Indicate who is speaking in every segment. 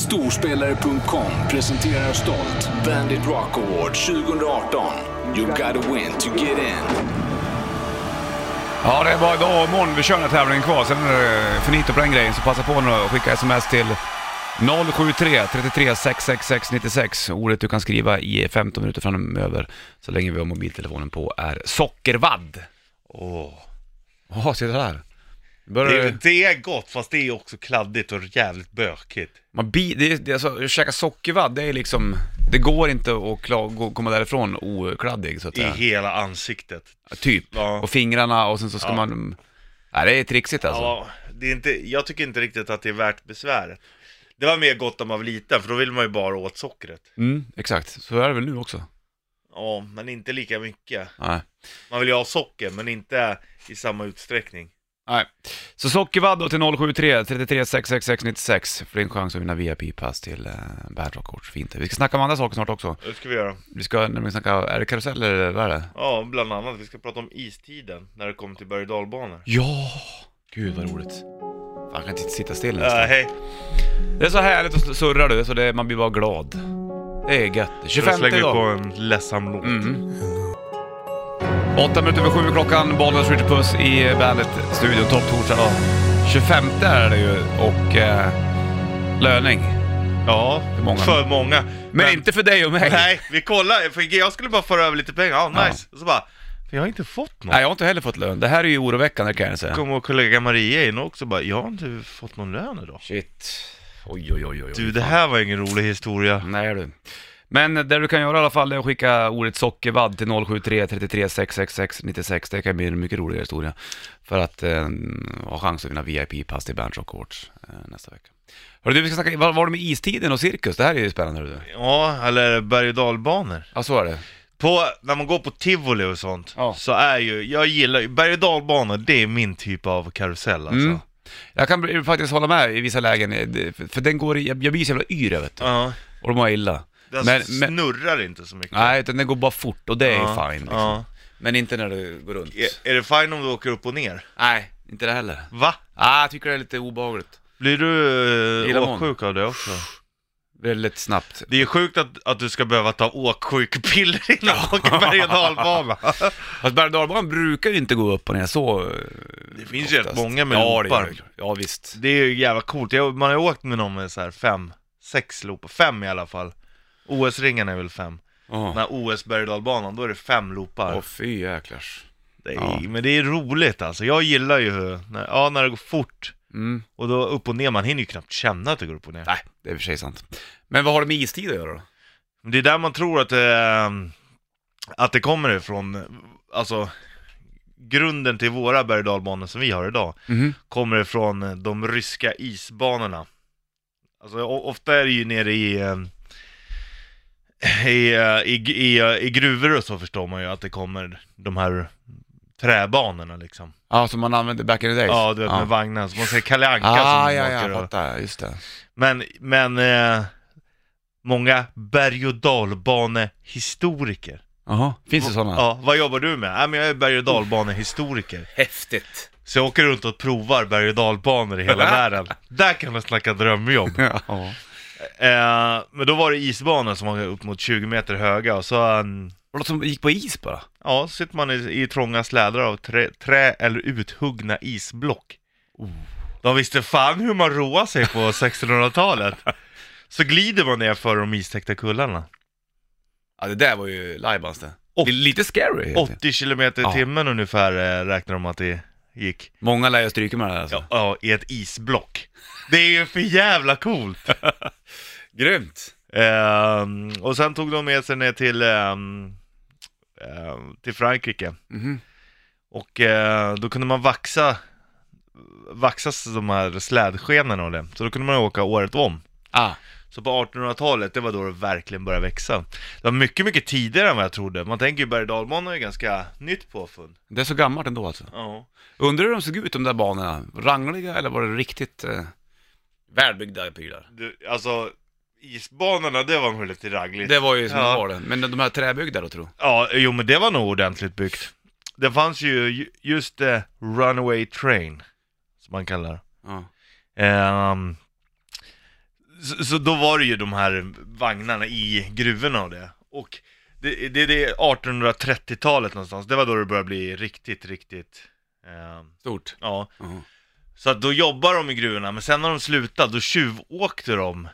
Speaker 1: Storspelare.com presenterar stolt Bandit Rock Award 2018. You gotta win to get in.
Speaker 2: Ja, det var idag och imorgon. Vi kör den här tävlingen kvar. Sen är det finito på den grejen, så passa på nu och skicka sms till 073 33 666 96. Ordet du kan skriva i 15 minuter framöver, så länge vi har mobiltelefonen på, är sockervadd.
Speaker 3: Åh.
Speaker 2: Jaha, se där.
Speaker 3: Det,
Speaker 2: Börjar
Speaker 3: är-
Speaker 2: du...
Speaker 3: det är gott, fast det är också kladdigt och jävligt bökigt.
Speaker 2: Man bi... det, är- det, är alltså, att käka sockervadd, det är liksom... Det går inte att kla... gå, komma därifrån okladdig, så att
Speaker 3: I
Speaker 2: säga.
Speaker 3: hela ansiktet.
Speaker 2: Typ.
Speaker 3: Ja.
Speaker 2: Och fingrarna och sen så ska
Speaker 3: Ja.
Speaker 2: man... Nej, det är trixigt alltså.
Speaker 3: Ja, det är inte, jag tycker inte riktigt att det är värt besväret. Det var mer gott om man var liten, för då ville man ju bara åt sockret.
Speaker 2: Mm, exakt. Så är det väl nu också.
Speaker 3: Ja, men inte lika mycket.
Speaker 2: Nej.
Speaker 3: Man vill ju ha socker, men inte i samma utsträckning.
Speaker 2: Nej. Så sockervadd då till 073 33 666 96 för din chans att vinna VIP-pass till eh, Bad Rock Coach. Fint. Vi ska snacka om andra saker snart också.
Speaker 3: Det ska vi göra.
Speaker 2: Vi ska nämligen snacka, är det karuseller eller vad är det?
Speaker 3: Ja, bland annat. Vi ska prata om istiden när det kommer till berg och dalbanor.
Speaker 2: Ja! Gud vad roligt. Fan, jag kan inte sitta still nästan.
Speaker 3: Äh, hej.
Speaker 2: Det är så härligt att surra du, så det, man blir bara glad. Det är gött.
Speaker 3: Då
Speaker 2: 25
Speaker 3: slänger vi på
Speaker 2: idag.
Speaker 3: en ledsam låt.
Speaker 2: Mm. Åtta minuter över sju klockan, Bollnäs Richard Puss i Bandet-studion. Topp torsdag då. 25 är det ju och eh, löning.
Speaker 3: Ja,
Speaker 2: För många.
Speaker 3: För många.
Speaker 2: Men, inte för dig och mig.
Speaker 3: Nej, vi kollar. För jag skulle bara föra över lite pengar. Ja,
Speaker 2: Ja.
Speaker 3: nice. Och så bara, för jag har inte fått något.
Speaker 2: Nej, jag har inte heller fått lön. Det här är ju oroväckande kan jag säga.
Speaker 3: Kom och kollega Maria in och också bara, jag har inte fått någon lön idag.
Speaker 2: Shit. Oj, oj, oj, oj.
Speaker 3: Du, det här var ingen rolig historia.
Speaker 2: Nej du. Men det du kan göra i alla fall är att skicka ordet sockervadd till 073 33 666 96. Det kan bli en mycket roligare historia. För att eh, ha chans att vinna VIP-pass till Bernt Rock Awards eh, nästa vecka. Hörru du, vi ska snacka, vad var det med istiden och cirkus? Det här är ju spännande hörru du.
Speaker 3: Ja, eller berg och dalbanor.
Speaker 2: Ja, så är det.
Speaker 3: På, när man går på tivoli och sånt,
Speaker 2: Ja.
Speaker 3: så är ju, jag gillar ju, berg och dalbanor, det är min typ av karusell alltså.
Speaker 2: Mm. Jag kan bli- faktiskt hålla med i vissa lägen, eh, det- för- för den går i, jag jag blir så jävla yr vet du.
Speaker 3: Ja,
Speaker 2: Och de har illa.
Speaker 3: den
Speaker 2: Men- men-
Speaker 3: snurrar inte så mycket.
Speaker 2: Nej, utan den går bara fort och det är
Speaker 3: Ja,
Speaker 2: fine liksom.
Speaker 3: ja.
Speaker 2: Men inte när du går runt.
Speaker 3: Är, är det fine om du åker upp och ner?
Speaker 2: Nej, inte det heller.
Speaker 3: Va?
Speaker 2: Ah, jag tycker det är lite obehagligt.
Speaker 3: Blir du eh,
Speaker 2: Illamående.
Speaker 3: åksjuk av det också?
Speaker 2: Väldigt snabbt.
Speaker 3: Det är sjukt att, att du ska behöva ta åksjukpiller innan du åker berg och dalbana.
Speaker 2: Fast berg och dalbanan brukar ju inte gå upp och ner så eh,
Speaker 3: Det finns ju rätt
Speaker 2: oftast.
Speaker 3: många med
Speaker 2: ja, det gör
Speaker 3: loopar.
Speaker 2: det. Ja, visst.
Speaker 3: Det är ju jävla coolt, jag, man har ju åkt med någon med så här fem, sex loopar, fem i alla fall OS-ringen är väl fem? Den
Speaker 2: Åh,
Speaker 3: här OS berg och dalbanan, då är det fem loopar
Speaker 2: Åh, fy jäklars.
Speaker 3: det är,
Speaker 2: ja.
Speaker 3: Men det är roligt alltså, jag gillar ju hur, när, ja, när det går fort
Speaker 2: Mm.
Speaker 3: och då upp och ner, man hinner ju knappt känna att det går upp och ner
Speaker 2: Nej, det är i och för sig sant. Men vad har det med istid att göra då?
Speaker 3: Men Det är där man tror att, eh, att det kommer ifrån, alltså grunden till våra berg och dalbanor som vi har idag
Speaker 2: Mhm.
Speaker 3: kommer ifrån de ryska isbanorna. Alltså o- ofta är det ju nere i, eh, i, eh, i, i, eh, i gruvor och så förstår man ju att det kommer de här träbanorna liksom.
Speaker 2: Ja, som man använde back in the days?
Speaker 3: Ja, du vet med vagnar, så man ser Kalle Anka
Speaker 2: Ah,
Speaker 3: som
Speaker 2: ja, ja,
Speaker 3: åker
Speaker 2: jag
Speaker 3: och-
Speaker 2: fattar. Just det.
Speaker 3: Men, men eh, många berg och dalbanehistoriker.
Speaker 2: Jaha, finns det sådana?
Speaker 3: Ja, vad jobbar du med? Ja, men jag är berg och dalbanehistoriker.
Speaker 2: Häftigt.
Speaker 3: Så jag åker runt och provar berg och dalbanor i hela världen. Där kan man snacka drömjobb.
Speaker 2: Ja.
Speaker 3: Eh, men då var det isbanor som var upp mot 20 meter höga och så, um,
Speaker 2: Var det som gick på is bara?
Speaker 3: ja, så sitter man i, i trånga slädar av trä, trä eller uthuggna isblock. De visste fan hur man roade sig på 1600-talet. Så glider man ner för de istäckta kullarna.
Speaker 2: Ja, det där var ju lajbans det.
Speaker 3: Och-
Speaker 2: Det är Lite scary. helt enkelt.
Speaker 3: 80 kilometer
Speaker 2: Ja.
Speaker 3: i timmen ungefär eh, räknar de att det gick.
Speaker 2: Många lär ju stryka med det här alltså.
Speaker 3: Ja, ja, i ett isblock. Det är ju för jävla coolt!
Speaker 2: Grymt!
Speaker 3: Ehm, och sen tog de med sig ner till, ehm, ehm, till Frankrike.
Speaker 2: Mhm.
Speaker 3: Och eh, då kunde man vaxa, vaxas de här slädskenorna och det. Så då kunde man ju åka året om.
Speaker 2: Ah.
Speaker 3: Så på 1800-talet, det var då det verkligen började växa. Det var mycket, mycket tidigare än vad jag trodde. Man tänker ju berg och dalbanor är ganska nytt påfund.
Speaker 2: Det är så gammalt ändå alltså.
Speaker 3: Ja.
Speaker 2: Undrar hur de såg ut de där banorna? Rangliga eller var det riktigt eh, välbyggda prylar?
Speaker 3: Du, alltså, isbanorna, det var nog lite ragligt.
Speaker 2: Det var ju som
Speaker 3: Ja.
Speaker 2: det var det. Men de här träbyggda då tror jag.
Speaker 3: Ja, jo men det var nog ordentligt byggt. Det fanns ju ju- just eh, Runaway Train, som man kallar det.
Speaker 2: Ja.
Speaker 3: Ehm, Så, så då var det ju de här vagnarna i gruvorna och det. Och det, det, det är 1830-talet någonstans, det var då det började bli riktigt, riktigt... Eh,
Speaker 2: Stort.
Speaker 3: ja.
Speaker 2: Mhm.
Speaker 3: Så att då jobbar de i gruvorna, men sen när de slutade, då tjuvåkte de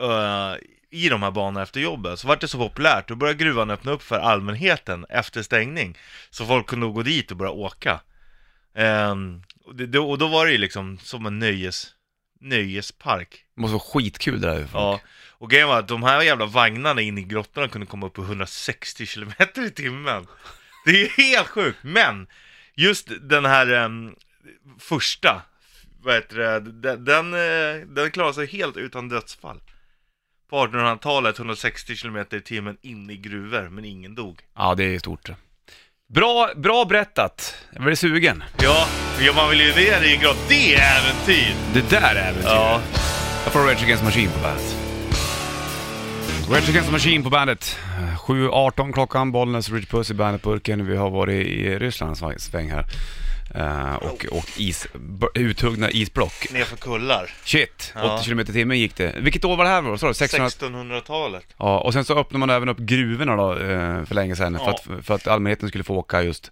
Speaker 3: eh, i de här banorna efter jobbet. Så vart det så populärt, då började gruvan öppna upp för allmänheten efter stängning. Så folk kunde gå dit och börja åka. Ehm, och, det, då, och då var det ju liksom som en nöjes, nöjespark.
Speaker 2: Det måste vara skitkul det där ju, folk.
Speaker 3: Ja, och grejen var att de här jävla vagnarna in i grottorna kunde komma upp i 160 kilometer i timmen. Det är helt sjukt, men just den här em, första, vad heter det, den, den, eh, den klarade sig helt utan dödsfall. På 1800-talet 160 kilometer i timmen in i gruvor, men ingen dog.
Speaker 2: Ja, det är stort. Bra, bra berättat. Jag blir sugen.
Speaker 3: Ja, ja man vill ju ner i en grott, det är äventyr!
Speaker 2: Det där är äventyr.
Speaker 3: Ja,
Speaker 2: Jag får Rage Against the Machine på bandet. Rage Against the Machine på bandet. 7.18 klockan, Bollnäs, Rich Puss i bandet-burken. Vi har varit i Ryssland en sväng- sväng här. Eh, och och is, b- uthuggna isblock.
Speaker 3: nerför kullar.
Speaker 2: Shit, 80
Speaker 3: Ja.
Speaker 2: km i timmen gick det. Vilket år var det här? Vad sa du? 600...
Speaker 3: 1600-talet.
Speaker 2: Ja, och sen så öppnade man även upp gruvorna då eh, för länge sedan för,
Speaker 3: Ja.
Speaker 2: att, för att allmänheten skulle få åka just.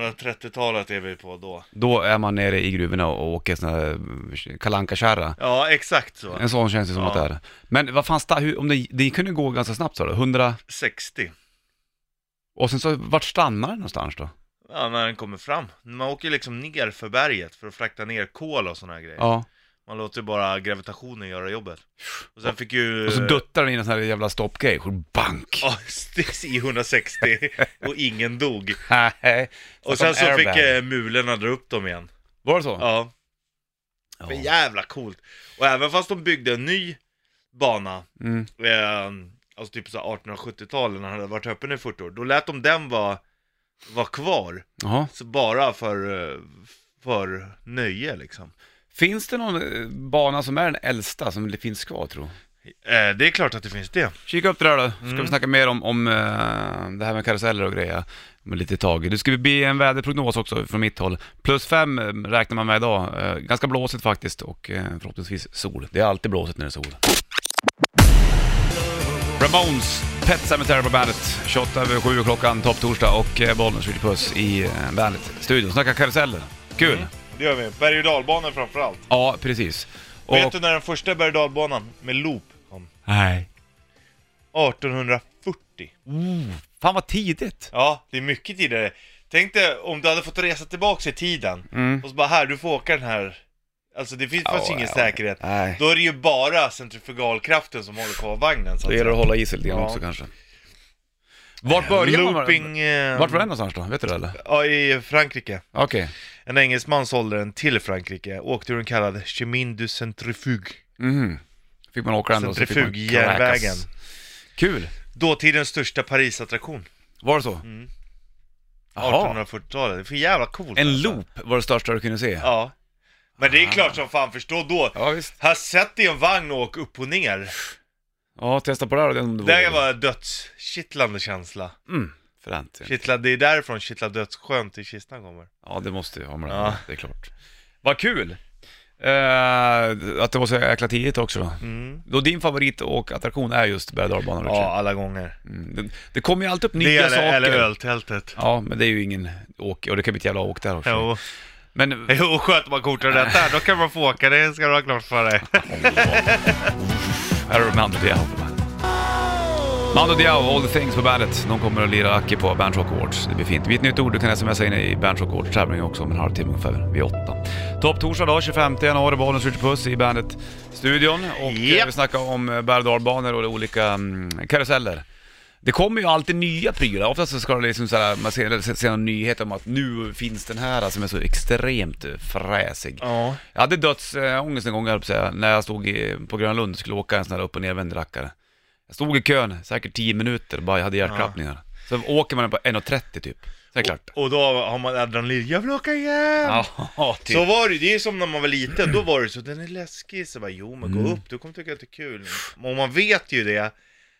Speaker 3: 1830-talet är vi på då.
Speaker 2: Då är man nere i gruvorna och åker sån här eh, kalanka kärra
Speaker 3: Ja, exakt så.
Speaker 2: En sån känns det som
Speaker 3: Ja.
Speaker 2: att det är. Men vad fan, sta- hur, om det, det kunde gå ganska snabbt sa du? 100...
Speaker 3: 60.
Speaker 2: Och sen så, vart stannar den någonstans då?
Speaker 3: Ja, när den kommer fram. Man åker ju liksom ner för berget för att frakta ner kol och såna här grejer.
Speaker 2: Ja.
Speaker 3: Man låter ju bara gravitationen göra jobbet. Och sen fick ju...
Speaker 2: Och så duttar den i en sån här jävla stoppgrej. Och Bank!
Speaker 3: Ja, precis, i 160 och ingen dog.
Speaker 2: Nej.
Speaker 3: Och
Speaker 2: Snacka
Speaker 3: sen
Speaker 2: om
Speaker 3: så fick
Speaker 2: airbag.
Speaker 3: eh, mulorna dra upp dem igen.
Speaker 2: Var det så?
Speaker 3: Ja, för
Speaker 2: Ja.
Speaker 3: jävla coolt. Och även fast de byggde en ny bana,
Speaker 2: Mm.
Speaker 3: eh, alltså typ så här 1870-talet när den hade varit öppen i 40 år, då lät de den vara var kvar.
Speaker 2: Jaha.
Speaker 3: Så bara för, eh, för nöje liksom.
Speaker 2: Finns det någon eh, bana som är den äldsta som det finns kvar tror du?
Speaker 3: Eh, det är klart att det finns det.
Speaker 2: Kika upp det där då, ska
Speaker 3: Mm.
Speaker 2: vi snacka mer om, om eh, det här med karuseller och grejer om ett litet tag. Det ska bli en väderprognos också från mitt håll. Plus fem eh, räknar man med idag. Eh, ganska blåsigt faktiskt och eh, förhoppningsvis sol. Det är alltid blåsigt när det är sol. Ramones, Pet Cemetery på bandet. 28 över 7 klockan, topptorsdag och eh, Bollnäs Ritchie Puss i eh, bandet-studion. Snacka karuseller. Kul!
Speaker 3: Det gör vi. Berg och dalbanan framförallt.
Speaker 2: Ja, precis. Och,
Speaker 3: Vet du när den första berg och dalbanan med loop kom?
Speaker 2: Nej.
Speaker 3: 1840.
Speaker 2: Fan vad tidigt!
Speaker 3: Ja, det är mycket tidigare. Tänk dig om du hade fått resa tillbaks i tiden
Speaker 2: Mm.
Speaker 3: och så bara här, du får åka den här. Alltså det finns
Speaker 2: Ja,
Speaker 3: faktiskt ingen
Speaker 2: ja.
Speaker 3: säkerhet.
Speaker 2: Nej.
Speaker 3: Då är det ju bara centrifugalkraften som håller kvar vagnen så
Speaker 2: Då
Speaker 3: att
Speaker 2: gäller det att
Speaker 3: säga.
Speaker 2: hålla i sig lite grann
Speaker 3: Ja.
Speaker 2: också kanske. Vart började man?
Speaker 3: Looping... Eh,
Speaker 2: Vart var den någonstans då? Vet du det eller?
Speaker 3: Ja, i Frankrike.
Speaker 2: Okej.
Speaker 3: En engelsman sålde den till Frankrike, åkte ur den kallad Chemin du Centrifuge.
Speaker 2: Mhm. Fick man åka den då så fick man
Speaker 3: Centrifugjärnvägen.
Speaker 2: crackas. Kul!
Speaker 3: Dåtidens största Parisattraktion.
Speaker 2: Var det så?
Speaker 3: Mm.
Speaker 2: Jaha.
Speaker 3: 1840-talet. Det är för jävla coolt.
Speaker 2: En
Speaker 3: alltså.
Speaker 2: loop var det största du kunde se?
Speaker 3: Ja. Men det är klart som fan, förstå då.
Speaker 2: Ja, visst.
Speaker 3: Här sätt dig i en vagn och åk upp och ner.
Speaker 2: Ja, testa på det här då, om du
Speaker 3: Det
Speaker 2: vågar.
Speaker 3: var en dödskittlande känsla.
Speaker 2: Mm. Fränt.
Speaker 3: Kittla, det är därifrån kittla dödsskönt till kistan kommer.
Speaker 2: Ja, det måste ju ha med det
Speaker 3: Ja.
Speaker 2: det är klart. Vad kul! Eh, att det var så jäkla tidigt också då.
Speaker 3: Mm.
Speaker 2: Då din favoritåkattraktion är just berg och
Speaker 3: Ja,
Speaker 2: dalbanan
Speaker 3: alla gånger.
Speaker 2: mm. det, det kommer ju alltid upp
Speaker 3: Det
Speaker 2: nya saker.
Speaker 3: eller, eller öltältet.
Speaker 2: Ja, men det är ju ingen åk, och det kan bli ett jävla åk där också.
Speaker 3: Jo,
Speaker 2: Men...
Speaker 3: jo sköter man korten rätt där, då kan man få åka, det ska du ha klart för dig.
Speaker 2: Här har du Mando Diao på bandet. Mando Diao, All the things på bandet. De kommer att lira Aki på Bandrock Awards. Det blir fint. Vi är ett nytt ord du kan smsa in i Bandrock Awards tävling också om en halvtimme ungefär, vid åtta. Topp torsdag då, 25 januari, Bollnäs Ritchie Puss i Bandet-studion. Och
Speaker 3: Japp.
Speaker 2: eh, vi snackar om eh, berg och dalbanor och olika mm, karuseller. Det kommer ju alltid nya prylar, oftast så ska det liksom såhär, man ser, ser någon nyhet om att nu finns den här som är så extremt eh, fräsig.
Speaker 3: Ja.
Speaker 2: Jag hade dödsångest en gång, höll jag på att säga, när jag stod i, på Grönlund och skulle åka en sån här upp och nervänd rackare. Jag stod i kön säkert 10 minuter, bara jag hade hjärtklappningar. Så åker man på 1.30 typ. Så är det klart.
Speaker 3: Och då har man adrenalin, jag vill åka igen!
Speaker 2: Ja, typ.
Speaker 3: Så var det ju, det är som när man var liten, då var det så den är läskig, så bara jo men gå
Speaker 2: Mm.
Speaker 3: upp, du kommer tycka att det är kul. Och man vet ju det,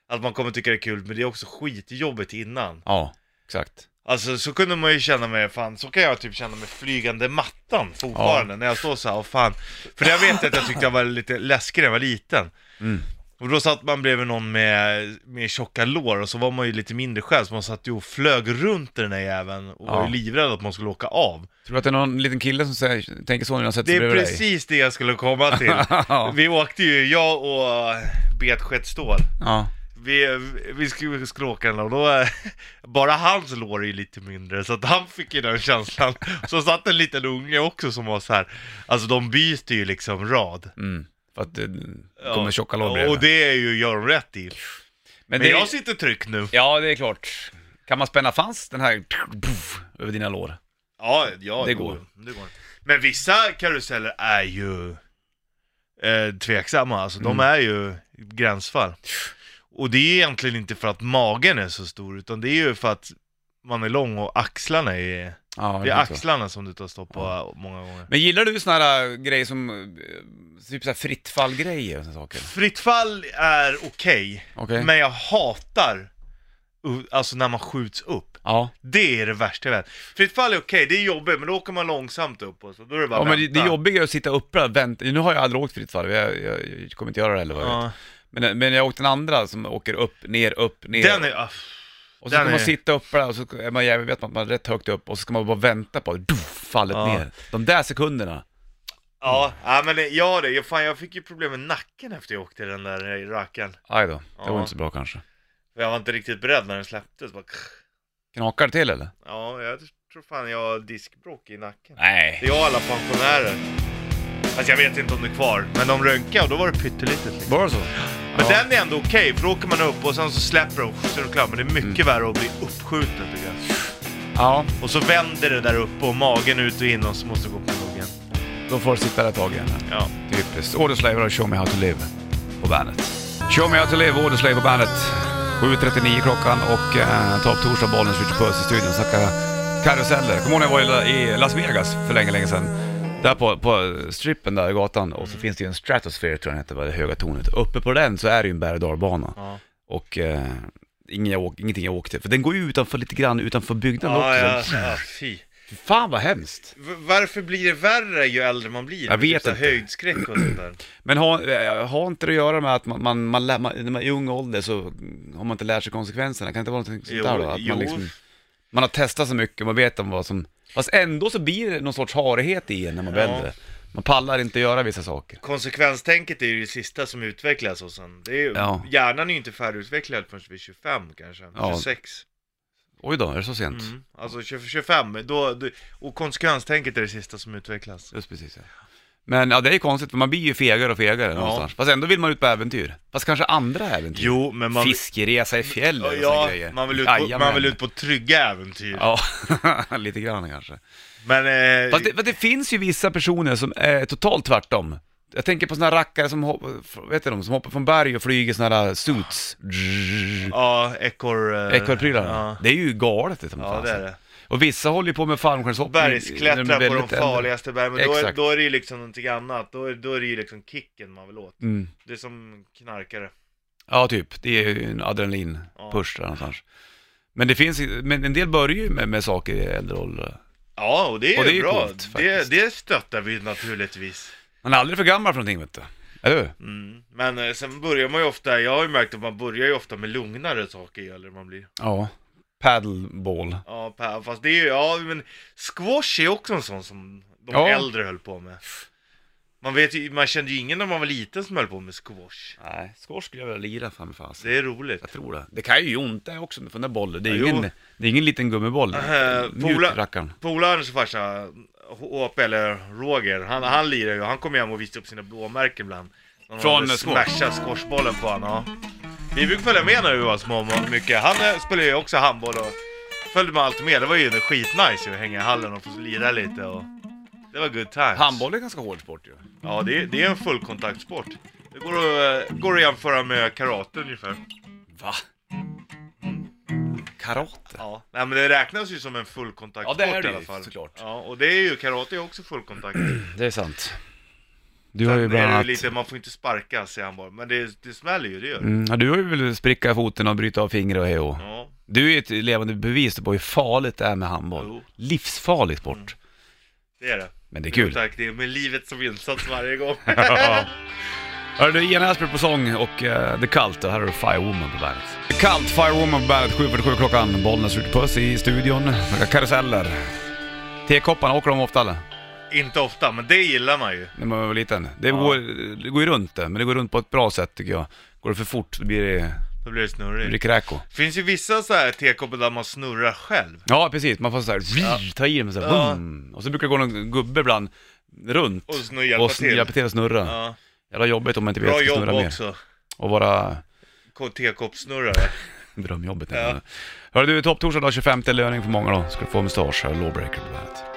Speaker 3: att man kommer tycka det är kul, men det är också skitjobbigt innan.
Speaker 2: Ja, exakt.
Speaker 3: Alltså så kunde man ju känna mig, fan så kan jag typ känna mig flygande mattan fortfarande när jag står så här, och fan. För jag vet att jag tyckte jag var lite läskig när jag var liten.
Speaker 2: Mm.
Speaker 3: Och då satt man bredvid någon med, med tjocka lår och så var man ju lite mindre själv så man satt ju och flög runt den där jäveln och var
Speaker 2: Ja.
Speaker 3: ju livrädd att man skulle åka av.
Speaker 2: Tror du att det är någon liten kille som säger, tänker så när han sätter
Speaker 3: Det
Speaker 2: sig
Speaker 3: är
Speaker 2: bredvid dig?
Speaker 3: precis det jag skulle komma till.
Speaker 2: Ja.
Speaker 3: Vi åkte ju, jag och Betskett Ståhl.
Speaker 2: Ja.
Speaker 3: Vi, vi skulle, vi skulle åka den och då, eh, bara hans lår är ju lite mindre så att han fick ju den känslan. Så satt en liten unge också som var så här. alltså de byter ju liksom rad.
Speaker 2: Mm. För att det kommer tjocka lår
Speaker 3: Ja,
Speaker 2: bredvid.
Speaker 3: Och det är ju, gör de rätt i.
Speaker 2: Men
Speaker 3: Men
Speaker 2: det...
Speaker 3: jag sitter trygg nu.
Speaker 2: Ja, det är klart. Kan man spänna fast den här över dina lår?
Speaker 3: Ja, ja
Speaker 2: Det går.
Speaker 3: det går. Men vissa karuseller är ju eh, tveksamma, alltså
Speaker 2: Mm.
Speaker 3: de är ju gränsfall. Och det är egentligen inte för att magen är så stor, utan det är ju för att man är lång och axlarna är...
Speaker 2: Ja,
Speaker 3: Det är
Speaker 2: blir så.
Speaker 3: axlarna som du tar stopp på många gånger.
Speaker 2: Men gillar du såna här äh, grejer som, äh, typ såhär fritt fall-grejer och såna saker?
Speaker 3: Fritt fall är okej,
Speaker 2: Okej.
Speaker 3: men jag hatar uh, alltså när man skjuts upp.
Speaker 2: Ja.
Speaker 3: Det är det värsta jag vet. Fritt fall är okej, det är jobbigt, men då åker man långsamt upp och så då är det bara
Speaker 2: Ja men det,
Speaker 3: vänta.
Speaker 2: det jobbiga är att sitta uppe och vänta, nu har jag aldrig åkt fritt fall, jag, jag, jag kommer inte göra det heller vad jag vet.
Speaker 3: Ja.
Speaker 2: Men, men jag har åkt den andra som åker upp, ner, upp, ner.
Speaker 3: Den är... ah,
Speaker 2: och så
Speaker 3: den
Speaker 2: ska man
Speaker 3: är-
Speaker 2: sitta uppe där och så är man jävligt, vet man att man är rätt högt upp och så ska man bara vänta på att doff, fallet
Speaker 3: Ja.
Speaker 2: ner. De där sekunderna.
Speaker 3: Ja, ja men det- jag har det. Jag, fan, jag fick ju problem med nacken efter jag åkte den där rackaren.
Speaker 2: Aj då, det var
Speaker 3: Ja.
Speaker 2: inte så bra kanske.
Speaker 3: För jag var inte riktigt beredd när den släpptes. Bara,
Speaker 2: Knakar det till eller?
Speaker 3: ja, jag tror fan jag har diskbråck i nacken. Det
Speaker 2: Nej.
Speaker 3: är jag och alla pensionärer. Alltså jag vet inte om det är kvar, men de röntgade och då var det pyttelitet. Liksom.
Speaker 2: Var det så?
Speaker 3: Men den är ändå okej, för då åker man upp och sen så släpper de så är det klart. Men det är mycket värre att bli uppskjuten tycker jag.
Speaker 2: Ja,
Speaker 3: Och så vänder det där uppe och magen ut och in och så måste du gå på knogen.
Speaker 2: då får du sitta där ett tag igen.
Speaker 3: Ja.
Speaker 2: Typiskt. Orderslaver och Show Me How To Live på bandet. Show Me How To Live, Orderslaver på bandet. 7.39 klockan och eh, ta upp torsdag, Bollnäs, Richard Puss i studion. Snacka karuseller. Kommer ihåg när jag var i La- i Las Vegas för länge, länge sedan? Där på, på strippen där i gatan och så finns det ju en Stratosphere tror jag den heter, va, det höga tornet. Uppe på den så är det ju en berg och dalbana.
Speaker 3: Ja.
Speaker 2: Och eh, ingen jag åk, ingenting jag åkte, för den går ju utanför lite grann utanför byggnaden
Speaker 3: Ja, ja,
Speaker 2: också.
Speaker 3: ja, fy.
Speaker 2: Fan vad hemskt!
Speaker 3: V- Varför blir det värre ju äldre man blir?
Speaker 2: Jag vet
Speaker 3: typ så här
Speaker 2: inte.
Speaker 3: Höjdskräck och sånt där.
Speaker 2: Men har, eh, har inte det att göra med att man, man, man, lär- man, när man är i ung ålder så har man inte lärt sig konsekvenserna? Kan det inte vara något sånt
Speaker 3: Jo,
Speaker 2: där då? Att
Speaker 3: jo.
Speaker 2: man, liksom, man har testat så mycket, man vet om vad som... Fast ändå så blir det någon sorts harighet i en när man blir
Speaker 3: Ja.
Speaker 2: äldre. Man pallar inte göra vissa saker.
Speaker 3: Konsekvenstänket är ju det sista som utvecklas hos en. Det är ju,
Speaker 2: Ja.
Speaker 3: Hjärnan är ju inte färdigutvecklad förrän vid 25 kanske,
Speaker 2: Ja.
Speaker 3: 26.
Speaker 2: Oj då, är det så sent?
Speaker 3: Mm. Alltså 20 25, då, då, och konsekvenstänket är det sista som utvecklas.
Speaker 2: Just precis ja. Men ja, det är ju konstigt för man blir ju fegare och fegare någonstans. Fast ändå vill man ut på äventyr. Fast kanske andra äventyr.
Speaker 3: Jo, men man,
Speaker 2: Fiskeresa i fjällen och såna
Speaker 3: ja,
Speaker 2: grejer.
Speaker 3: man, vill ut på, man
Speaker 2: Jajamän.
Speaker 3: vill ut på trygga äventyr.
Speaker 2: Ja, lite grann kanske.
Speaker 3: Men, eh,
Speaker 2: Fast det, fast det finns ju vissa personer som är totalt tvärtom. Jag tänker på såna rackare som, hopp, vet du, de, som hoppar från berg och flyger såna här suits.
Speaker 3: ja, ekor... eh,
Speaker 2: Ekorrprylar.
Speaker 3: Ja.
Speaker 2: Det är ju galet. Det,
Speaker 3: Ja, det är det.
Speaker 2: Och vissa håller ju på med fallskärmshoppning. när de
Speaker 3: Bergsklättra
Speaker 2: är
Speaker 3: på de
Speaker 2: väldigt äldre.
Speaker 3: farligaste bergen, men då är,
Speaker 2: Exakt.
Speaker 3: då är det ju liksom någonting annat. Då är, då är det ju liksom kicken man vill åt.
Speaker 2: Mm.
Speaker 3: Det är som knarkare.
Speaker 2: Ja, typ. Det är ju en adrenalinpush där någonstans. Men det finns, men en del börjar ju med, med saker i äldre ålder.
Speaker 3: Ja, och det är,
Speaker 2: Och det är
Speaker 3: ju
Speaker 2: ju
Speaker 3: bra.
Speaker 2: coolt,
Speaker 3: det,
Speaker 2: faktiskt.
Speaker 3: det stöttar vi naturligtvis.
Speaker 2: Man är aldrig för gammal för någonting vet du. Eller hur?
Speaker 3: Mm. Men eh, sen börjar man ju ofta, jag har ju märkt att man börjar ju ofta med lugnare saker ju äldre man blir.
Speaker 2: Ja. Paddleball.
Speaker 3: Ja, pa- fast det är ju, ja men squash är också en sån som de
Speaker 2: Ja.
Speaker 3: äldre höll på med. Man vet ju, man kände ju ingen när man var liten som höll på med squash.
Speaker 2: Nej, squash skulle jag vilja lira fan fasen.
Speaker 3: Det är roligt.
Speaker 2: Jag tror det. Det kan ju göra ont det också med den där bollen. Det är,
Speaker 3: Ja,
Speaker 2: ingen,
Speaker 3: jo.
Speaker 2: det är ingen liten gummiboll.
Speaker 3: Eh,
Speaker 2: Mjuk
Speaker 3: pola-
Speaker 2: rackaren.
Speaker 3: Polarens farsa, HP eller Roger, han, han lirar ju, han kom hem och visade upp sina blåmärken ibland. Han
Speaker 2: Från
Speaker 3: hade
Speaker 2: squash?
Speaker 3: smashat squashbollen på honom, ja. Vi brukade följa med när vi var små och mycket. Han eh, spelade ju också handboll och följde med allt med. Det var ju skitnice ju, att hänga i hallen och få lira lite och... Det var good times.
Speaker 2: Handboll är ganska hård sport ju.
Speaker 3: Ja, det är, det är en fullkontaktsport. Det går att, eh, går att jämföra med karate ungefär.
Speaker 2: Va? Karate?
Speaker 3: Ja. Nej men det räknas ju som en fullkontaktsport
Speaker 2: typ. Ja, det är det
Speaker 3: i alla
Speaker 2: ju,
Speaker 3: fall.
Speaker 2: såklart.
Speaker 3: Ja, och det är ju, karate är också fullkontakt.
Speaker 2: Det är sant. Du har ju
Speaker 3: Sen är
Speaker 2: bland
Speaker 3: det ju
Speaker 2: annat...
Speaker 3: lite, man får inte sparka säger han bara, men det, det smäller ju, det gör det.
Speaker 2: Mm, ja, du har ju väl spricka i foten och bryta av fingrar och hej och.
Speaker 3: Ja.
Speaker 2: Du är ju ett levande bevis på hur farligt det är med handboll.
Speaker 3: Jo. Mm.
Speaker 2: Livsfarlig sport.
Speaker 3: Det är det.
Speaker 2: Men det är kul.
Speaker 3: Tack, det är med livet som insats varje gång.
Speaker 2: Hörru du, Ian Asper på sång och eh, The Cult, och här har du Firewoman på bandet. The Cult, Firewoman på bandet, 7.47 klockan. Bollnäs Ritch Puss i studion. Några karuseller. Tekopparna, åker de ofta eller?
Speaker 3: Inte ofta, men det gillar man ju.
Speaker 2: När man var liten. Det, går, det går ju runt det, men det går runt på ett bra sätt tycker jag. Går det för fort då blir det,
Speaker 3: Då blir det
Speaker 2: det blir
Speaker 3: snurrigt.
Speaker 2: kräko.
Speaker 3: Finns ju vissa så här tekoppar där man snurrar själv.
Speaker 2: Ja precis, man får såhär, ta i den så här,
Speaker 3: Ja.
Speaker 2: vum. Och så brukar det gå någon gubbe ibland runt
Speaker 3: Och snurra- hjälpa
Speaker 2: och sn-
Speaker 3: till.
Speaker 2: hjälpa till att snurra.
Speaker 3: Ja.
Speaker 2: Jävla jobbigt om man inte vet
Speaker 3: Bra
Speaker 2: att
Speaker 3: jobb
Speaker 2: snurra mer.
Speaker 3: också.
Speaker 2: Och vara
Speaker 3: K- Tekoppsnurrare.
Speaker 2: Drömjobbet.
Speaker 3: Ja.
Speaker 2: Ja. Hörru du, topptorsdag 25 löning för många då. Ska du få mustasch, här, Lawbreaker på bandet.